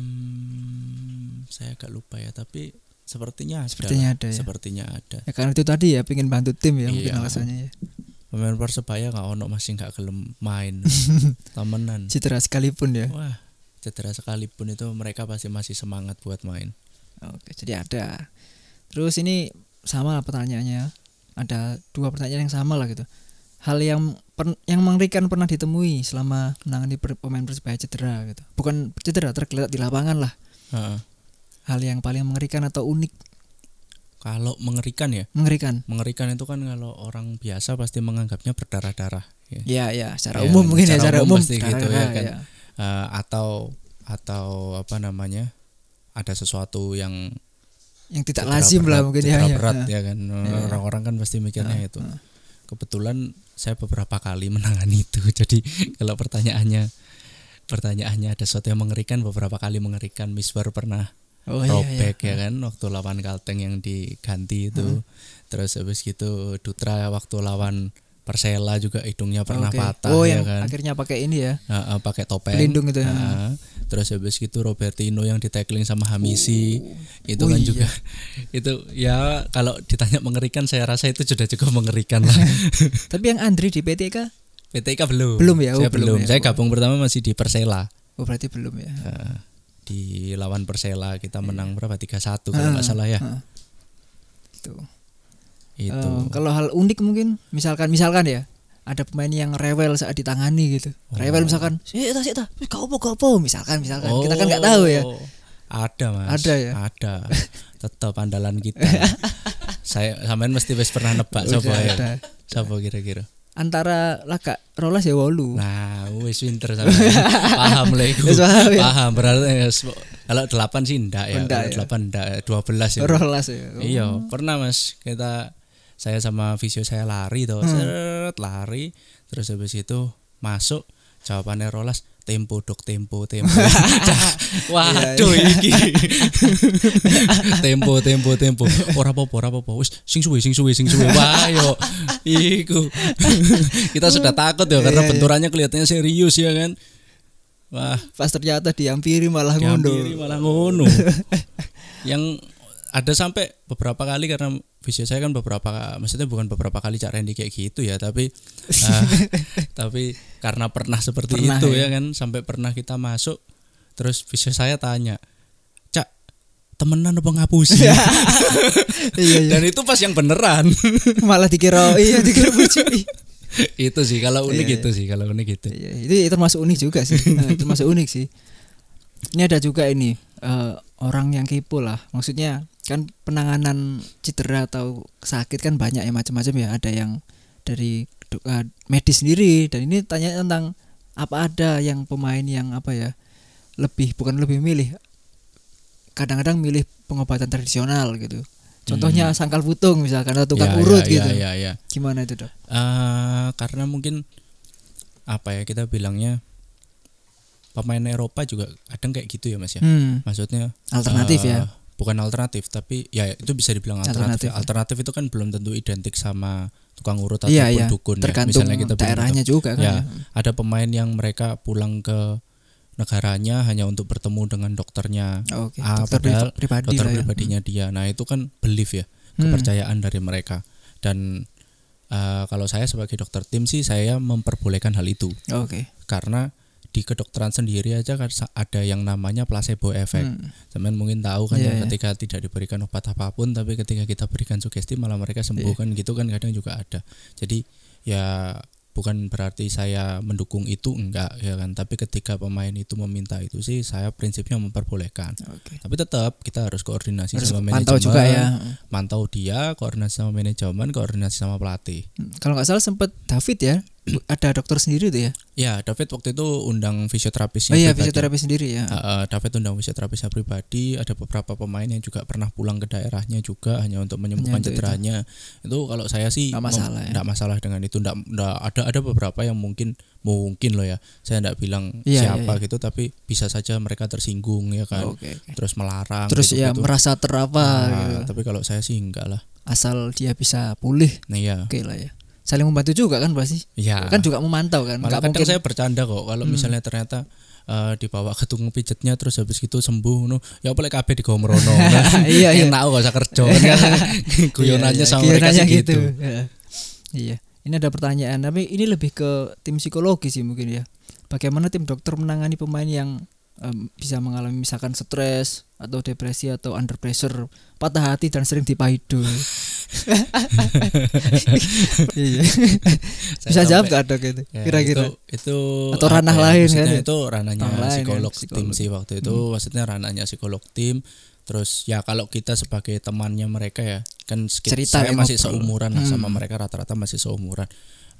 D: Ehm, saya agak lupa ya, tapi sepertinya ada.
B: Sepertinya
D: lah.
B: ada ya.
D: Sepertinya ada.
B: Ya karena itu tadi ya pengen bantu tim ya mungkin
D: Iya.
B: alasannya ya.
D: Pemain Persebaya nggak ono masih nggak gelem main. Temenan.
B: Cedera sekalipun ya.
D: Wah, cedera sekalipun itu mereka pasti masih semangat buat main.
B: Oke, jadi ada. Terus ini sama pertanyaannya. Ada dua pertanyaan yang sama lah gitu. Hal yang per- yang mengerikan pernah ditemui selama menangani per- pemain persebaya cedera gitu. Bukan cedera, tergeletak di lapangan lah.
D: Heeh.
B: Hal yang paling mengerikan atau unik
D: Kalau mengerikan ya,
B: mengerikan.
D: mengerikan itu kan kalau orang biasa pasti menganggapnya berdarah-darah. ya.
B: Ya, ya, secara
D: Ya,
B: umum mungkin ya,
D: secara
B: secara
D: umum
B: umum.
D: pasti gitu
B: Karena-
D: ya kan. Eh, atau atau apa namanya ada sesuatu yang
B: Yang tidak
D: cedera
B: lazim
D: berat-
B: lah mungkin ya.
D: cedera
B: ya.
D: berat
B: Nah,
D: ya kan
B: ya.
D: orang-orang kan pasti mikirnya
B: nah,
D: itu
B: nah.
D: kebetulan saya beberapa kali menangani itu jadi kalau pertanyaannya pertanyaannya ada sesuatu yang mengerikan beberapa kali mengerikan Misbar pernah
B: Oh, iya, iya.
D: robek ya kan waktu lawan Kalteng yang diganti itu terus habis gitu Dutra waktu lawan Persela juga hidungnya pernah
B: Oke.
D: patah
B: Oh,
D: ya
B: yang
D: kan
B: akhirnya pakai ini ya.
D: Heeh, Ah, pakai topeng
B: Pelindung itu, ya.
D: Heeh. terus habis gitu Robertino yang ditackling sama Hamisi
B: Oh.
D: itu
B: iya.
D: kan juga itu ya kalau ditanya mengerikan saya rasa itu sudah cukup mengerikan lah
B: Tapi yang Andri di PTK
D: PTK belum
B: Belum ya, oh,
D: saya
B: belum
D: belum,
B: ya.
D: saya gabung pertama masih di Persela
B: Oh, berarti belum ya.
D: Heeh. di lawan Persela kita
B: Iya.
D: menang berapa 3-1 kalau
B: Ah,
D: nggak salah ya
B: Heeh. Gitu.
D: itu
B: Eh, kalau hal unik mungkin misalkan misalkan ya ada pemain yang rewel saat ditangani gitu. Rewel misalkan, "Sik ta sik ta, wis gak apa-apa, gak apa." Misalkan misalkan kita kan nggak tahu ya.
D: ada mas
B: Ada ya?
D: ada tetap andalan kita saya sampean mesti wis pernah nebak
B: Udah,
D: sapa ya
B: udah.
D: sapa kira-kira
B: Antara laga rolas ya wolu.
D: Nah, wis winter sama. paham lah iku.
B: Wis paham ya? Oh,
D: Paham berarti eh, se- kalau 8 sih ndak ya.
B: Ndak
D: Kalau
B: ya.
D: 8 ndak 12 ya.
B: rolas ya.
D: Iya, pernah Mas. Kita saya sama visio saya lari tuh seret lari terus habis itu masuk jawabannya rolas tempo dok tempo tempo Cah, waduh iki tempo tempo tempo ora apa ora apa wis sing suwe sing suwe sing suwe wah yo iku kita sudah takut ya karena benturannya kelihatannya serius ya kan wah
B: Pas ternyata diampiri malah
D: Dihampiri
B: ngono.
D: malah ngono. yang ada sampai beberapa kali karena visi saya kan beberapa maksudnya bukan beberapa kali Cak Randy kayak gitu ya tapi eh, tapi karena pernah seperti
B: Pernah
D: itu
B: ya.
D: ya. kan sampai pernah kita masuk terus visi saya tanya Cak temenan apa ngapusi
B: Iya iya.
D: dan itu pas yang beneran
B: Malah dikira iya dikira bujuk.
D: itu sih kalau unik
B: Iya,
D: gitu sih kalau unik gitu
B: Iya, itu termasuk unik juga sih. Nah, termasuk unik sih. Ini ada juga ini eh, orang yang kepo lah. Maksudnya kan penanganan cedera atau sakit kan banyak ya macam-macam ya. Ada yang dari do- eh, medis sendiri dan ini tanya tentang apa ada yang pemain yang apa ya lebih bukan lebih milih kadang-kadang milih pengobatan tradisional gitu. Contohnya sangkal putung misalkan atau tukang
D: Hmm. Ya,
B: urut
D: ya,
B: gitu.
D: ya, ya, ya.
B: Gimana itu, Dok?
D: Eh, karena mungkin apa ya kita bilangnya pemain Eropa juga kadang kayak gitu ya mas ya
B: Hmm,
D: maksudnya
B: alternatif
D: eh,
B: ya.
D: bukan alternatif tapi ya itu bisa dibilang
B: Alternatif. ya.
D: alternatif alternatif, itu kan belum tentu identik sama tukang urut ataupun
B: Iya, iya.
D: dukun ya.
B: Tergantung
D: misalnya kita bilang
B: daerahnya juga kan.
D: ya,
B: ya.
D: ada pemain yang mereka pulang ke negaranya hanya untuk bertemu dengan dokternya
B: Oke,
D: Ah,
B: dokter
D: padahal
B: pri- pribadi
D: dokter
B: lah ya.
D: pribadinya dia. Nah itu kan belief ya,
B: Hmm.
D: kepercayaan dari mereka. Dan eh, kalau saya sebagai dokter tim sih saya memperbolehkan hal itu
B: Oke.
D: karena di kedokteran sendiri aja kan sa- ada yang namanya placebo effect.
B: Hmm.
D: Teman mungkin tahu kan
B: Iya,
D: ya,
B: iya.
D: ketika tidak diberikan obat apapun tapi ketika kita berikan sugesti malah mereka sembuh kan
B: Iya.
D: gitu kan kadang juga ada. Jadi ya bukan berarti saya mendukung itu enggak ya kan tapi ketika pemain itu meminta itu sih saya prinsipnya memperbolehkan
B: Oke.
D: tapi tetap kita harus koordinasi
B: Harus
D: sama manajemen
B: pantau juga ya.
D: mantau dia koordinasi sama manajemen koordinasi sama pelatih
B: Hmm, Kalau nggak salah sempat David ya,
D: Hmm.
B: bu- ada dokter sendiri tuh ya.
D: ya David waktu itu
B: Oh
D: undang fisioterapisnya
B: iya,
D: pribadi.
B: fisioterapi sendiri ya.
D: Uh, uh, David undang fisioterapisnya pribadi ada beberapa pemain yang juga pernah pulang ke daerahnya juga hanya untuk menyembuhkan
B: Hanya untuk
D: cederanya itu. kalau saya sih
B: Nggak
D: mem-
B: masalah ya.
D: nggak masalah dengan itu nggak nggak- ada ada beberapa yang mungkin mungkin loh ya saya tidak bilang
B: Iya, iya,
D: siapa
B: iya.
D: gitu tapi bisa saja mereka tersinggung ya kan
B: Oke. oke.
D: terus melarang
B: Terus ya
D: gitu-gitu.
B: merasa terapa
D: Nah,
B: gitu.
D: tapi kalau saya sih enggak lah
B: Asal dia bisa pulih,
D: nah ya
B: oke lah ya. Saling membantu juga kan pasti.
D: Ya.
B: Kan juga memantau kan.
D: Malah
B: Nggak
D: kadang
B: mungkin. Hmm.
D: saya bercanda kok kalau misalnya ternyata eh, dibawa ke tukang pijetnya terus habis gitu sembuh no ya boleh kabeh digomrono
B: Iya, iya.
D: enak gak usah kerja kan
B: Iya,
D: guyonannya
B: iya,
D: sama mereka
B: guyonannya
D: sih gitu,
B: Ya. Iya. Ini ada pertanyaan, tapi ini lebih ke tim psikologi sih mungkin ya. Bagaimana tim dokter menangani pemain yang em, bisa mengalami misalkan stres atau depresi atau under pressure, patah hati dan sering dipahidu. Iya.
D: Saya
B: bisa jawab
D: sampai-
B: gak dok itu?
D: Ya,
B: Kira-kira.
D: itu, itu
B: Atau
D: apa
B: ranah
D: ya,
B: lain
D: maksudnya
B: kan ya?
D: itu ranahnya
B: Ranah lain ya,
D: psikolog, tim
B: psikolog. Hmm.
D: sih waktu itu maksudnya ranahnya psikolog tim terus ya kalau kita sebagai temannya mereka ya kan sekit-
B: Cerita
D: saya
B: ya,
D: masih
B: ngobrol.
D: seumuran lah sama mereka rata-rata masih seumuran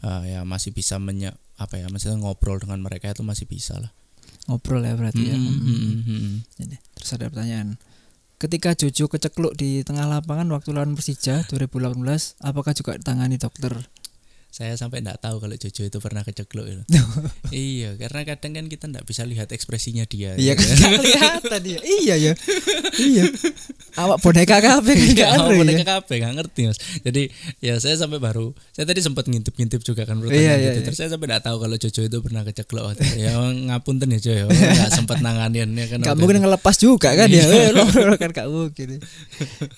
D: Eh, ya masih bisa menya apa ya maksudnya ngobrol dengan mereka itu masih bisa lah
B: Ngobrol ya berarti ya.
D: Mm, mm, mm, mm, mm.
B: Ini. Terus ada pertanyaan. Ketika Jojo kecekluk di tengah lapangan waktu lawan Persija 2018, apakah juga ditangani dokter?
D: saya sampai nggak tahu kalau Jojo itu pernah kecekluk itu. iya karena kadang kan kita nggak bisa lihat ekspresinya dia
B: Iya kan
D: gitu
B: nggak kelihatan ya. Iya ya. Iya. Awak boneka kabeh kan nggak
D: Gak
B: ada ya.
D: Iya, boneka kabeh gak ngerti mas Jadi ya saya sampai baru Saya tadi sempat ngintip-ngintip juga kan pertanyaan
B: Iya, iya,
D: gitu.
B: iya.
D: Terus saya sampai gak tahu kalau Jojo itu pernah keceklok waktu itu. Ya ngapunten ya Jojo Gak sempat nanganinnya kan
B: Gak
D: waktu
B: mungkin
D: itu.
B: ngelepas juga kan ya. Eh,
D: Iya.
B: loro-loro kan gak mungkin.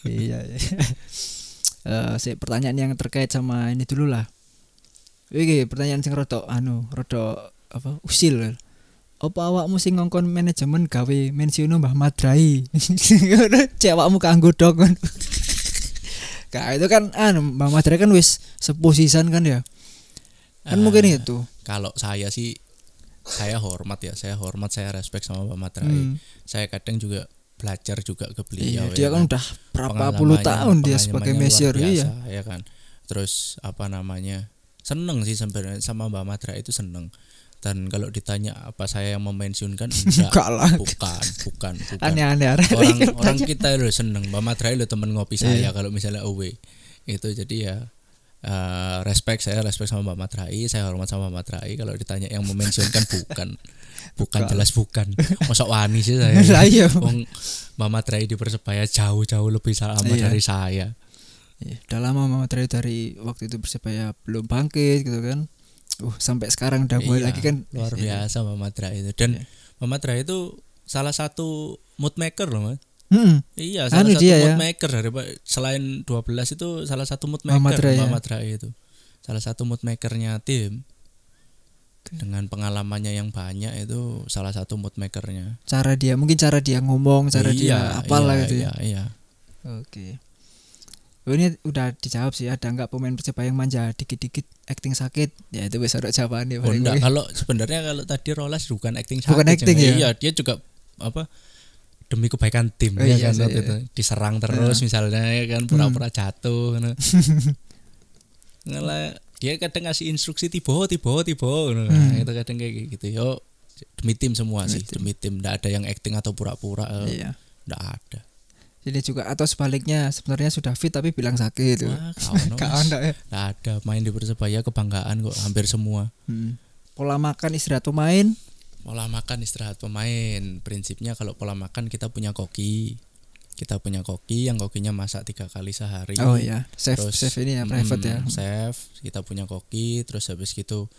B: Iya ya. Eh, sik, pertanyaan yang terkait sama ini dulu lah. Iki pertanyaan sing rada anu, rada apa? Usil. Apa awakmu sing ngongkon manajemen gawe mensiono Mbah Madrai? Cek awakmu kanggo dok. Kak itu kan anu Mbah Madrai kan wis seposisan kan ya. Kan
D: Eh,
B: mungkin itu.
D: Kalau saya sih Saya hormat ya Saya hormat saya respect sama Pak Matrai
B: Hmm.
D: Saya kadang juga belajar juga ke
B: Iya,
D: beliau ya
B: dia kan
D: kan.
B: udah berapa
D: Pengalamannya- ya,
B: puluh tahun dia
D: pengalamannya
B: sebagai
D: luar
B: measure
D: biasa,
B: iya.
D: ya kan terus apa namanya seneng sih sebenarnya sama Mbak Madra itu seneng dan kalau ditanya apa saya yang memensiunkan enggak
B: Enggak lah.
D: bukan bukan bukan
B: Kan Aneh-aneh kan. arek. Iya.
D: orang orang kita lo seneng Mbak Madra lo temen ngopi saya kalau misalnya away itu jadi ya eh, respect saya respect sama Mbak Matrai saya hormat sama Mbak Matrai kalau ditanya yang mementionkan bukan bukan
B: Bukan.
D: jelas bukan masa wani sih
B: Lah
D: saya
B: iya.
D: Wong Mbak Matrai di persebaya jauh-jauh lebih lama
B: Iya.
D: dari saya
B: Iya, udah lama Mama Trai dari waktu itu persebaya belum bangkit gitu kan. Uh, sampai sekarang udah mulai
D: Iya,
B: lagi kan.
D: luar
B: Iya.
D: biasa Mbak Matrai itu dan Mbak Matrai itu salah satu mood maker loh Mas
B: Mm-mm.
D: Iya, salah
B: Anu
D: satu
B: dia ya.
D: mood maker dari selain 12 itu salah satu mood maker
B: Muhammad Rai ya.
D: Muhammad Rai itu. Salah satu mood makernya tim. Dengan pengalamannya yang banyak itu salah satu mood makernya.
B: Cara dia mungkin cara dia ngomong, cara dia apalah
D: iya,
B: gitu ya.
D: Iya, iya.
B: Oke. Oh, ini udah dijawab sih ada nggak pemain persebaya yang manja dikit-dikit acting sakit? Ya itu besok ada jawabannya
D: Oh,
B: paling
D: enggak,
B: gue.
D: kalau sebenarnya kalau tadi Rolas bukan acting
B: Bukan
D: sakit,
B: acting ya?
D: Jeng. Iya, dia juga apa demi kebaikan tim
B: Oh,
D: ya
B: iya,
D: kan,
B: iya,
D: waktu
B: iya. Hmm.
D: itu. diserang terus misalnya ya kan pura-pura jatuh kan. Ngalah, dia kadang ngasih instruksi tibo tibo tibo gitu kan.
B: Hmm.
D: itu kadang kayak gitu yo demi tim semua sih demi tim enggak ada yang acting atau pura-pura eh,
B: Iya.
D: enggak ada
B: Jadi juga atau sebaliknya sebenarnya sudah fit tapi bilang sakit. gitu.
D: Wah, kaono,
B: Nggak
D: Mas.
B: ada ya.
D: Nggak ada main di persebaya kebanggaan kok hampir semua
B: Hmm. Pola makan istirahat pemain.
D: pola makan istirahat pemain prinsipnya kalau pola makan kita punya koki kita punya koki yang kokinya masak tiga kali sehari
B: Oh iya, chef
D: Terus,
B: chef ini ya
D: mm,
B: private ya.
D: chef kita punya koki terus habis gitu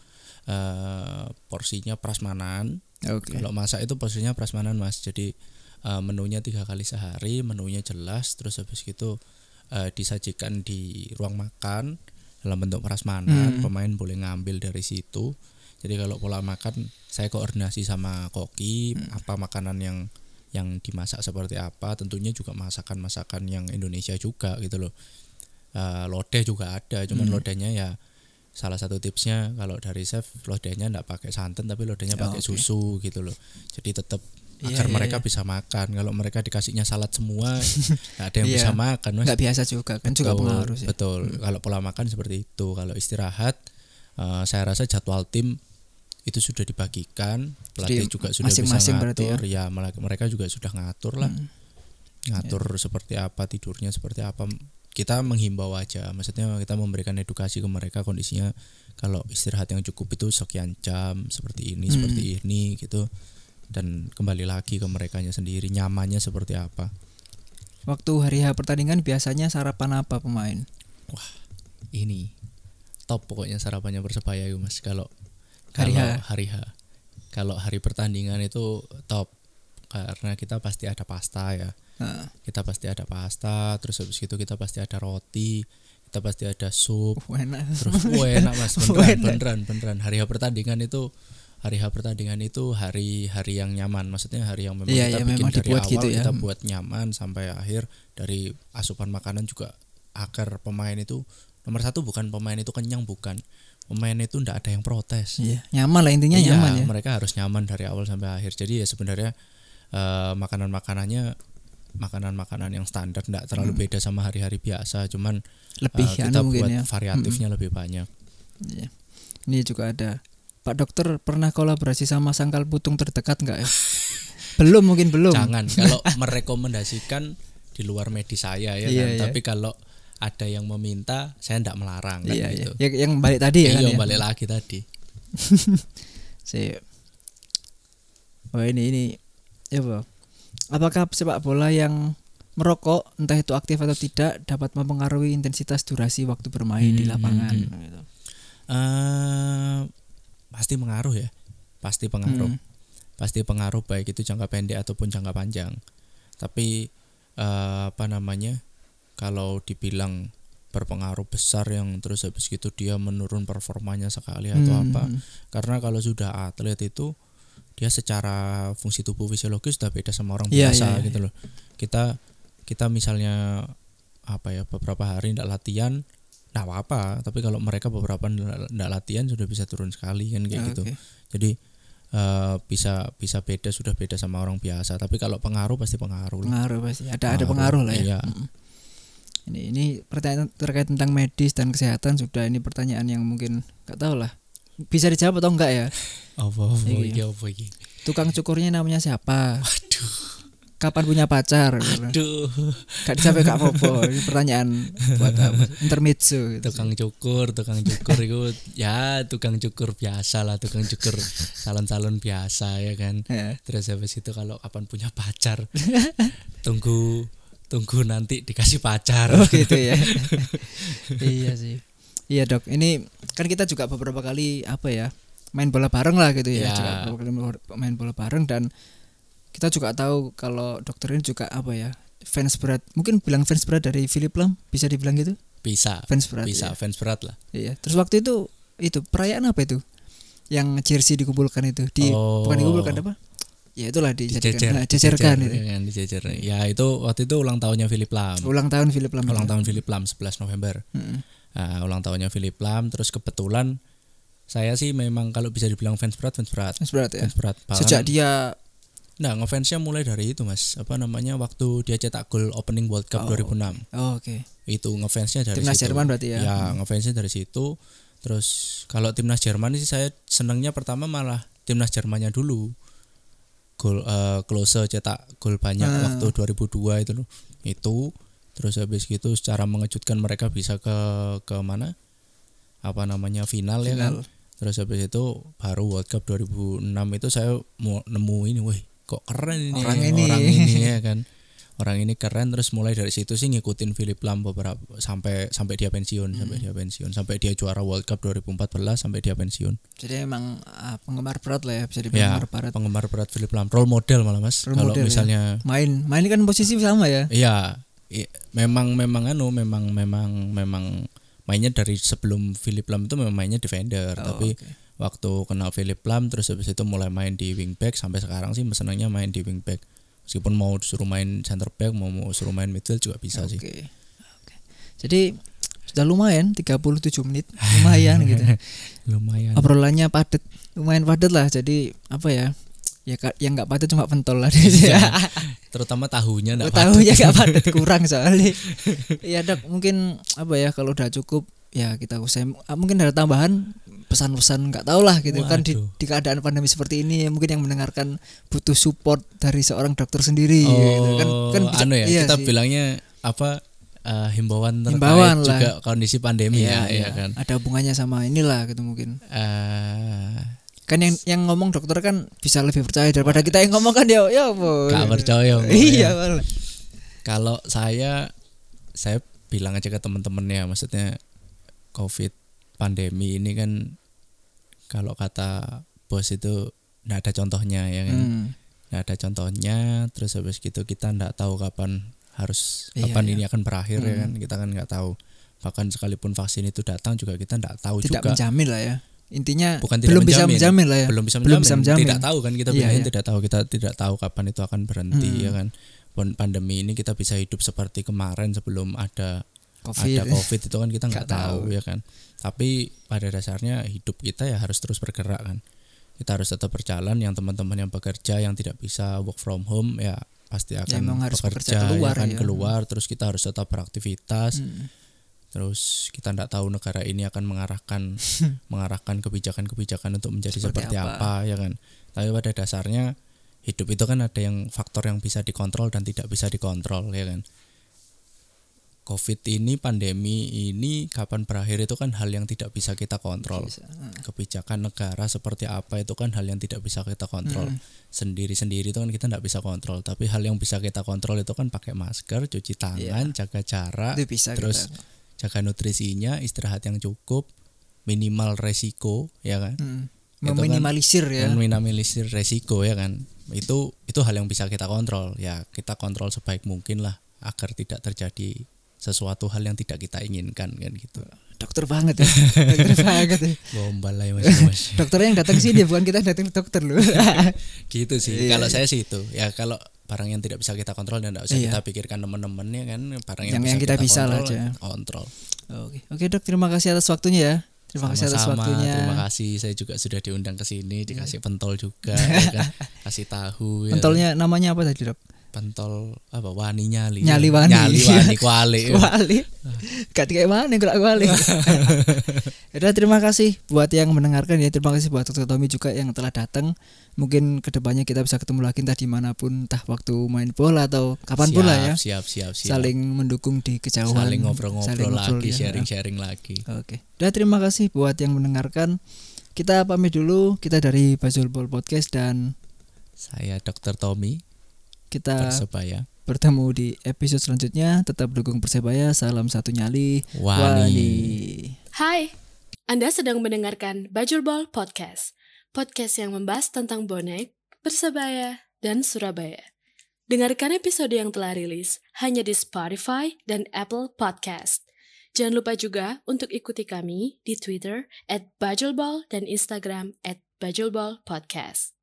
D: eh, porsinya prasmanan
B: Oke.
D: kalau masak itu porsinya prasmanan mas jadi eh, menunya tiga kali sehari menunya jelas terus habis gitu eh, disajikan di ruang makan dalam bentuk
B: Hmm.
D: prasmanan pemain boleh ngambil dari situ jadi kalau pola makan saya koordinasi sama koki
B: Hmm.
D: apa makanan yang yang dimasak seperti apa tentunya juga masakan-masakan yang Indonesia juga gitu loh Eh, lodeh juga ada cuman
B: Hmm.
D: lodehnya ya salah satu tipsnya kalau dari chef lodehnya nggak pakai santan tapi lodehnya
B: Oh,
D: pakai
B: oke.
D: susu gitu loh jadi tetap
B: Iya,
D: agar
B: iya,
D: mereka
B: iya.
D: bisa makan kalau mereka dikasihnya salad semua nggak ada yang
B: Iya.
D: bisa makan mas
B: Nggak biasa juga kan juga
D: Betul,
B: pengaruh sih. Hmm.
D: betul kalau pola makan seperti itu kalau istirahat eh, saya rasa jadwal tim itu sudah dibagikan pelatih
B: Jadi,
D: juga sudah
B: masing-masing
D: bisa
B: berarti Hmm.
D: ngatur ya. mela- mereka juga sudah ngatur lah ngatur
B: Ya.
D: seperti apa tidurnya seperti apa kita menghimbau aja maksudnya kita memberikan edukasi ke mereka kondisinya kalau istirahat yang cukup itu sekian jam seperti
B: Hmm.
D: ini seperti ini gitu dan kembali lagi ke merekanya sendiri nyamannya seperti apa
B: Waktu hari H pertandingan biasanya sarapan apa pemain?
D: ini top pokoknya sarapannya persebaya itu mas kalau
B: Hari
D: kalau
B: H.
D: hari H kalau hari pertandingan itu top karena kita pasti ada pasta ya
B: Nah,
D: kita pasti ada pasta terus habis itu kita pasti ada roti kita pasti ada sup
B: uh, enak.
D: terus wah enak mas
B: Wah, enak.
D: beneran beneran beneran hari H pertandingan itu hari H pertandingan itu hari hari yang nyaman maksudnya hari yang memang
B: Iya,
D: kita
B: iya,
D: bikin
B: memang
D: dari
B: dibuat
D: awal
B: gitu ya.
D: kita buat nyaman sampai akhir dari asupan makanan juga akar pemain itu nomor satu bukan pemain itu kenyang bukan pemain itu ndak ada yang protes
B: Iya, nyaman lah intinya
D: Iya,
B: nyaman ya.
D: mereka harus nyaman dari awal sampai akhir jadi ya sebenarnya eh, makanan makanannya makanan makanan yang standar ndak terlalu beda sama hari-hari biasa cuman
B: Hmm. Lebih
D: eh, kita
B: anu mungkin
D: buat
B: ya.
D: variatifnya lebih banyak
B: Iya. Ini juga ada. Pak dokter pernah kolaborasi sama sangkal putung terdekat nggak ya? belum mungkin belum.
D: Jangan kalau merekomendasikan di luar medis saya ya
B: Iya,
D: kan.
B: iya.
D: Tapi kalau ada yang meminta, saya tidak melarang kan
B: Iya, iya.
D: gitu.
B: Ya, yang balik tadi ya kan
D: Iya,
B: ya.
D: balik lagi tadi.
B: Sip. Wah Oh, ini ini ya Bro. Apakah sepak bola yang merokok entah itu aktif atau tidak dapat mempengaruhi intensitas durasi waktu bermain di
D: Hmm,
B: lapangan?
D: hmm,
B: gitu.
D: Eh, pasti mengaruh ya. Pasti pengaruh.
B: Hmm.
D: Pasti pengaruh baik itu jangka pendek ataupun jangka panjang. Tapi eh, apa namanya? Kalau dibilang berpengaruh besar yang terus habis gitu dia menurun performanya sekali Ya, atau
B: Hmm,
D: apa karena kalau sudah atlet itu dia secara fungsi tubuh fisiologis sudah beda sama orang
B: Iya,
D: biasa
B: iya, iya.
D: gitu loh kita kita misalnya apa ya beberapa hari tidak latihan tidak apa apa tapi kalau mereka beberapa tidak latihan sudah bisa turun sekali kan kayak
B: Ah, Oke.
D: gitu jadi eh, bisa bisa beda sudah beda sama orang biasa tapi kalau pengaruh pasti pengaruh lah.
B: Pengaruh pasti ada ada pengaruh lah ya.
D: Iya.
B: Mm-mm. Ini ini pertanyaan terkait tentang medis dan kesehatan sudah ini pertanyaan yang mungkin nggak tahu lah bisa dijawab atau enggak ya?
D: Apa apa
B: Iya.
D: iki, apa iki?
B: Tukang cukurnya namanya siapa?
D: Aduh.
B: kapan punya pacar gitu.
D: Aduh,
B: Gak sampai gak apa-apa Ini pertanyaan buat apa intermezzo gitu.
D: tukang cukur, tukang cukur itu ya tukang cukur biasa lah, tukang cukur salon-salon biasa ya kan.
B: Ya.
D: Terus habis itu kalau kapan punya pacar, tunggu tunggu nanti dikasih pacar.
B: Oh gitu ya. iya sih. Iya dok. Ini kan kita juga beberapa kali apa ya main bola bareng lah gitu ya.
D: Ya.
B: Juga beberapa kali main bola bareng dan kita juga tahu kalau dokter ini juga apa ya fans berat. Mungkin bilang fans berat dari Philip Lam bisa dibilang gitu.
D: Bisa,
B: Fans berat. Iya.
D: bisa fans berat lah.
B: Iya. Terus waktu itu itu perayaan apa itu? Yang jersey dikumpulkan itu di
D: Oh.
B: bukan dikumpulkan apa? Ya itulah
D: Dijejer,
B: dijadikan nah, dijejerkan
D: dijejer,
B: itu.
D: ya kan, dijejer. Ya itu waktu itu ulang tahunnya Philip Lam.
B: Ulang tahun Philip ya? Lam.
D: Ulang tahun Philip Lam 11 November.
B: Heeh.
D: Nah, ulang tahunnya Philip Lam terus kebetulan saya sih memang kalau bisa dibilang fans berat, fans berat.
B: Fans berat ya.
D: Fans berat. Bahkan-
B: Sejak dia
D: Nah, ngefansnya mulai dari itu, Mas. Apa namanya? Waktu dia cetak gol opening World
B: Oh.
D: Cup 2006.
B: oh, oke.
D: Itu ngefansnya dari
B: Timnas
D: situ.
B: Jerman berarti ya?
D: Ya, ngefansnya dari situ. Terus kalau timnas Jerman sih saya senangnya pertama malah timnas Jermannya dulu. Gol eh, Klose cetak gol banyak
B: Ah.
D: waktu 2002 itu loh. Itu terus habis gitu secara mengejutkan mereka bisa ke ke mana? Apa namanya? Final, ya kan.
B: Final.
D: Terus habis itu baru World Cup 2006 itu saya mau nemu ini, wih kok keren ini
B: Orang ini.
D: orang ini ya kan. Orang ini keren terus mulai dari situ sih ngikutin Philip Lam beberapa sampai sampai dia pensiun,
B: Hmm.
D: sampai dia pensiun, sampai dia juara World Cup 2014 sampai dia pensiun.
B: Jadi emang ah, penggemar berat lah ya bisa dibilang
D: Ya,
B: penggemar berat.
D: penggemar berat Philip Lam, role model malah Mas.
B: Role
D: Kalau
B: model, ya.
D: misalnya
B: Main main kan posisi sama ya.
D: Iya, i- memang memang anu memang memang memang mainnya dari sebelum Philip Lam itu memang mainnya defender,
B: Oh,
D: tapi
B: oke.
D: waktu kenal Philip Lam terus habis itu mulai main di wingback sampai sekarang sih senangnya main di wingback. Meskipun mau suruh main center back, mau, mau suruh main midfield juga bisa sih.
B: Oke. Oke. Jadi sudah lumayan 37 menit lumayan gitu.
D: Lumayan.
B: Obrolannya padat. Lumayan padat lah. Jadi apa ya? Ya ka- yang nggak padat cuma pentol lah.
D: Iya. Terutama tahunya enggak
B: tahu ya nggak padat kurang soalnya. Iya dok mungkin apa ya kalau udah cukup ya kita usai ah, mungkin ada tambahan pesan-pesan nggak tahu lah gitu kan di,
D: Waduh.
B: di keadaan pandemi seperti ini ya mungkin yang mendengarkan butuh support dari seorang dokter sendiri
D: Oh,
B: gitu kan kan bisa-
D: anu ya,
B: iya
D: kita
B: sih.
D: bilangnya apa eh, himbauan terkait
B: Himbauan lah.
D: juga kondisi pandemi
B: Iya,
D: ya, ya
B: iya.
D: kan.
B: ada hubungannya sama inilah gitu mungkin
D: Eh,
B: kan yang yang ngomong dokter kan bisa lebih percaya daripada kita yang ngomong kan ya ya apa
D: Gak percaya, Bu,
B: iya
D: ya.
B: malah.
D: Kalau saya saya bilang aja ke teman-teman ya, maksudnya COVID pandemi ini kan kalau kata bos itu nggak ada contohnya ya kan.
B: Hmm.
D: Nggak ada contohnya, terus habis gitu kita nggak tahu kapan harus
B: Iya,
D: kapan
B: iya.
D: ini akan berakhir ya
B: Hmm.
D: kan. Kita kan nggak tahu. Bahkan sekalipun vaksin itu datang juga kita nggak tahu
B: tidak
D: juga.
B: menjamin lah ya intinya
D: Bukan tidak
B: belum bisa
D: menjamin,
B: menjamin lah ya
D: belum bisa
B: Belum
D: menjamin.
B: bisa menjamin.
D: tidak tahu kan kita
B: Iya,
D: bilangnya
B: iya.
D: tidak tahu kita tidak tahu kapan itu akan berhenti
B: Hmm.
D: ya kan Pon- pandemi ini kita bisa hidup seperti kemarin sebelum ada
B: covid, Iya.
D: ada covid itu kan kita nggak
B: Nggak tahu.
D: tahu ya kan tapi pada dasarnya hidup kita ya harus terus bergerak kan kita harus tetap berjalan yang teman-teman yang bekerja yang tidak bisa work from home ya pasti akan
B: memang harus bekerja
D: bekerja,
B: keluar,
D: ya kan
B: ya.
D: keluar terus kita harus tetap beraktivitas
B: Hmm.
D: terus kita nggak tahu negara ini akan mengarahkan mengarahkan kebijakan-kebijakan untuk menjadi
B: Seperti
D: seperti,
B: apa.
D: apa. ya kan tapi pada dasarnya hidup itu kan ada yang faktor yang bisa dikontrol dan tidak bisa dikontrol ya kan covid ini pandemi ini kapan berakhir itu kan hal yang tidak bisa kita kontrol
B: Bisa. Hmm.
D: kebijakan negara seperti apa itu kan hal yang tidak bisa kita kontrol sendiri-sendiri itu kan kita nggak bisa kontrol tapi hal yang bisa kita kontrol itu kan pakai masker cuci tangan jaga jarak
B: Iya. itu bisa
D: terus
B: kita.
D: jaga nutrisinya istirahat yang cukup minimal resiko ya kan
B: Hmm.
D: itu kan
B: meminimalisir ya
D: Dan minimalisir resiko ya kan itu itu hal yang bisa kita kontrol ya kita kontrol sebaik mungkin lah agar tidak terjadi sesuatu hal yang tidak kita inginkan kan gitu
B: dokter banget ya dokter banget ya.
D: gombal lah ya mas, mas.
B: dokternya yang datang sih dia bukan kita yang datang ke dokter loh
D: gitu sih
B: Iya,
D: kalau
B: iya.
D: saya sih itu ya kalau barang yang tidak bisa kita kontrol dan tidak usah
B: Iya.
D: kita pikirkan teman-teman ya kan barang yang,
B: Yang- yang kita bisa lah
D: kontrol,
B: aja.
D: kontrol
B: oke oke dok terima kasih atas waktunya ya terima kasih atas
D: Sama-sama,
B: waktunya Iya.
D: Terima kasih saya juga sudah diundang ke sini dikasih pentol juga ya kan. kasih tahu ya.
B: pentolnya namanya apa tadi dok
D: pentol apa wani nyali
B: Nyali wani.
D: nyali wani kuali
B: Wali. Gak kayak mana kalau aku wali. Yaudah, terima kasih buat yang mendengarkan ya. Terima kasih buat Dr. Tommy juga yang telah datang. Mungkin kedepannya kita bisa ketemu lagi entah dimanapun, entah waktu main bola atau kapanpun lah ya.
D: siap siap siap
B: Saling mendukung di kejauhan.
D: saling ngobrol-ngobrol
B: Saling ngobrol,
D: lagi
B: ya.
D: sharing-sharing lagi
B: Oke. Udah terima kasih buat yang mendengarkan. Kita pamit dulu. Kita dari Basul Ball Podcast dan
D: saya Dr. Tommy
B: kita
D: persebaya
B: bertemu di episode selanjutnya. Tetap dukung Persebaya. Salam satu nyali.
D: wani.
A: Hai, Anda sedang mendengarkan Bajulbol Podcast. Podcast yang membahas tentang bonek, Persebaya, dan Surabaya. Dengarkan episode yang telah rilis hanya di Spotify dan Apple Podcast. Jangan lupa juga untuk ikuti kami di Twitter at Bajulbol dan Instagram at Bajulbol Podcast.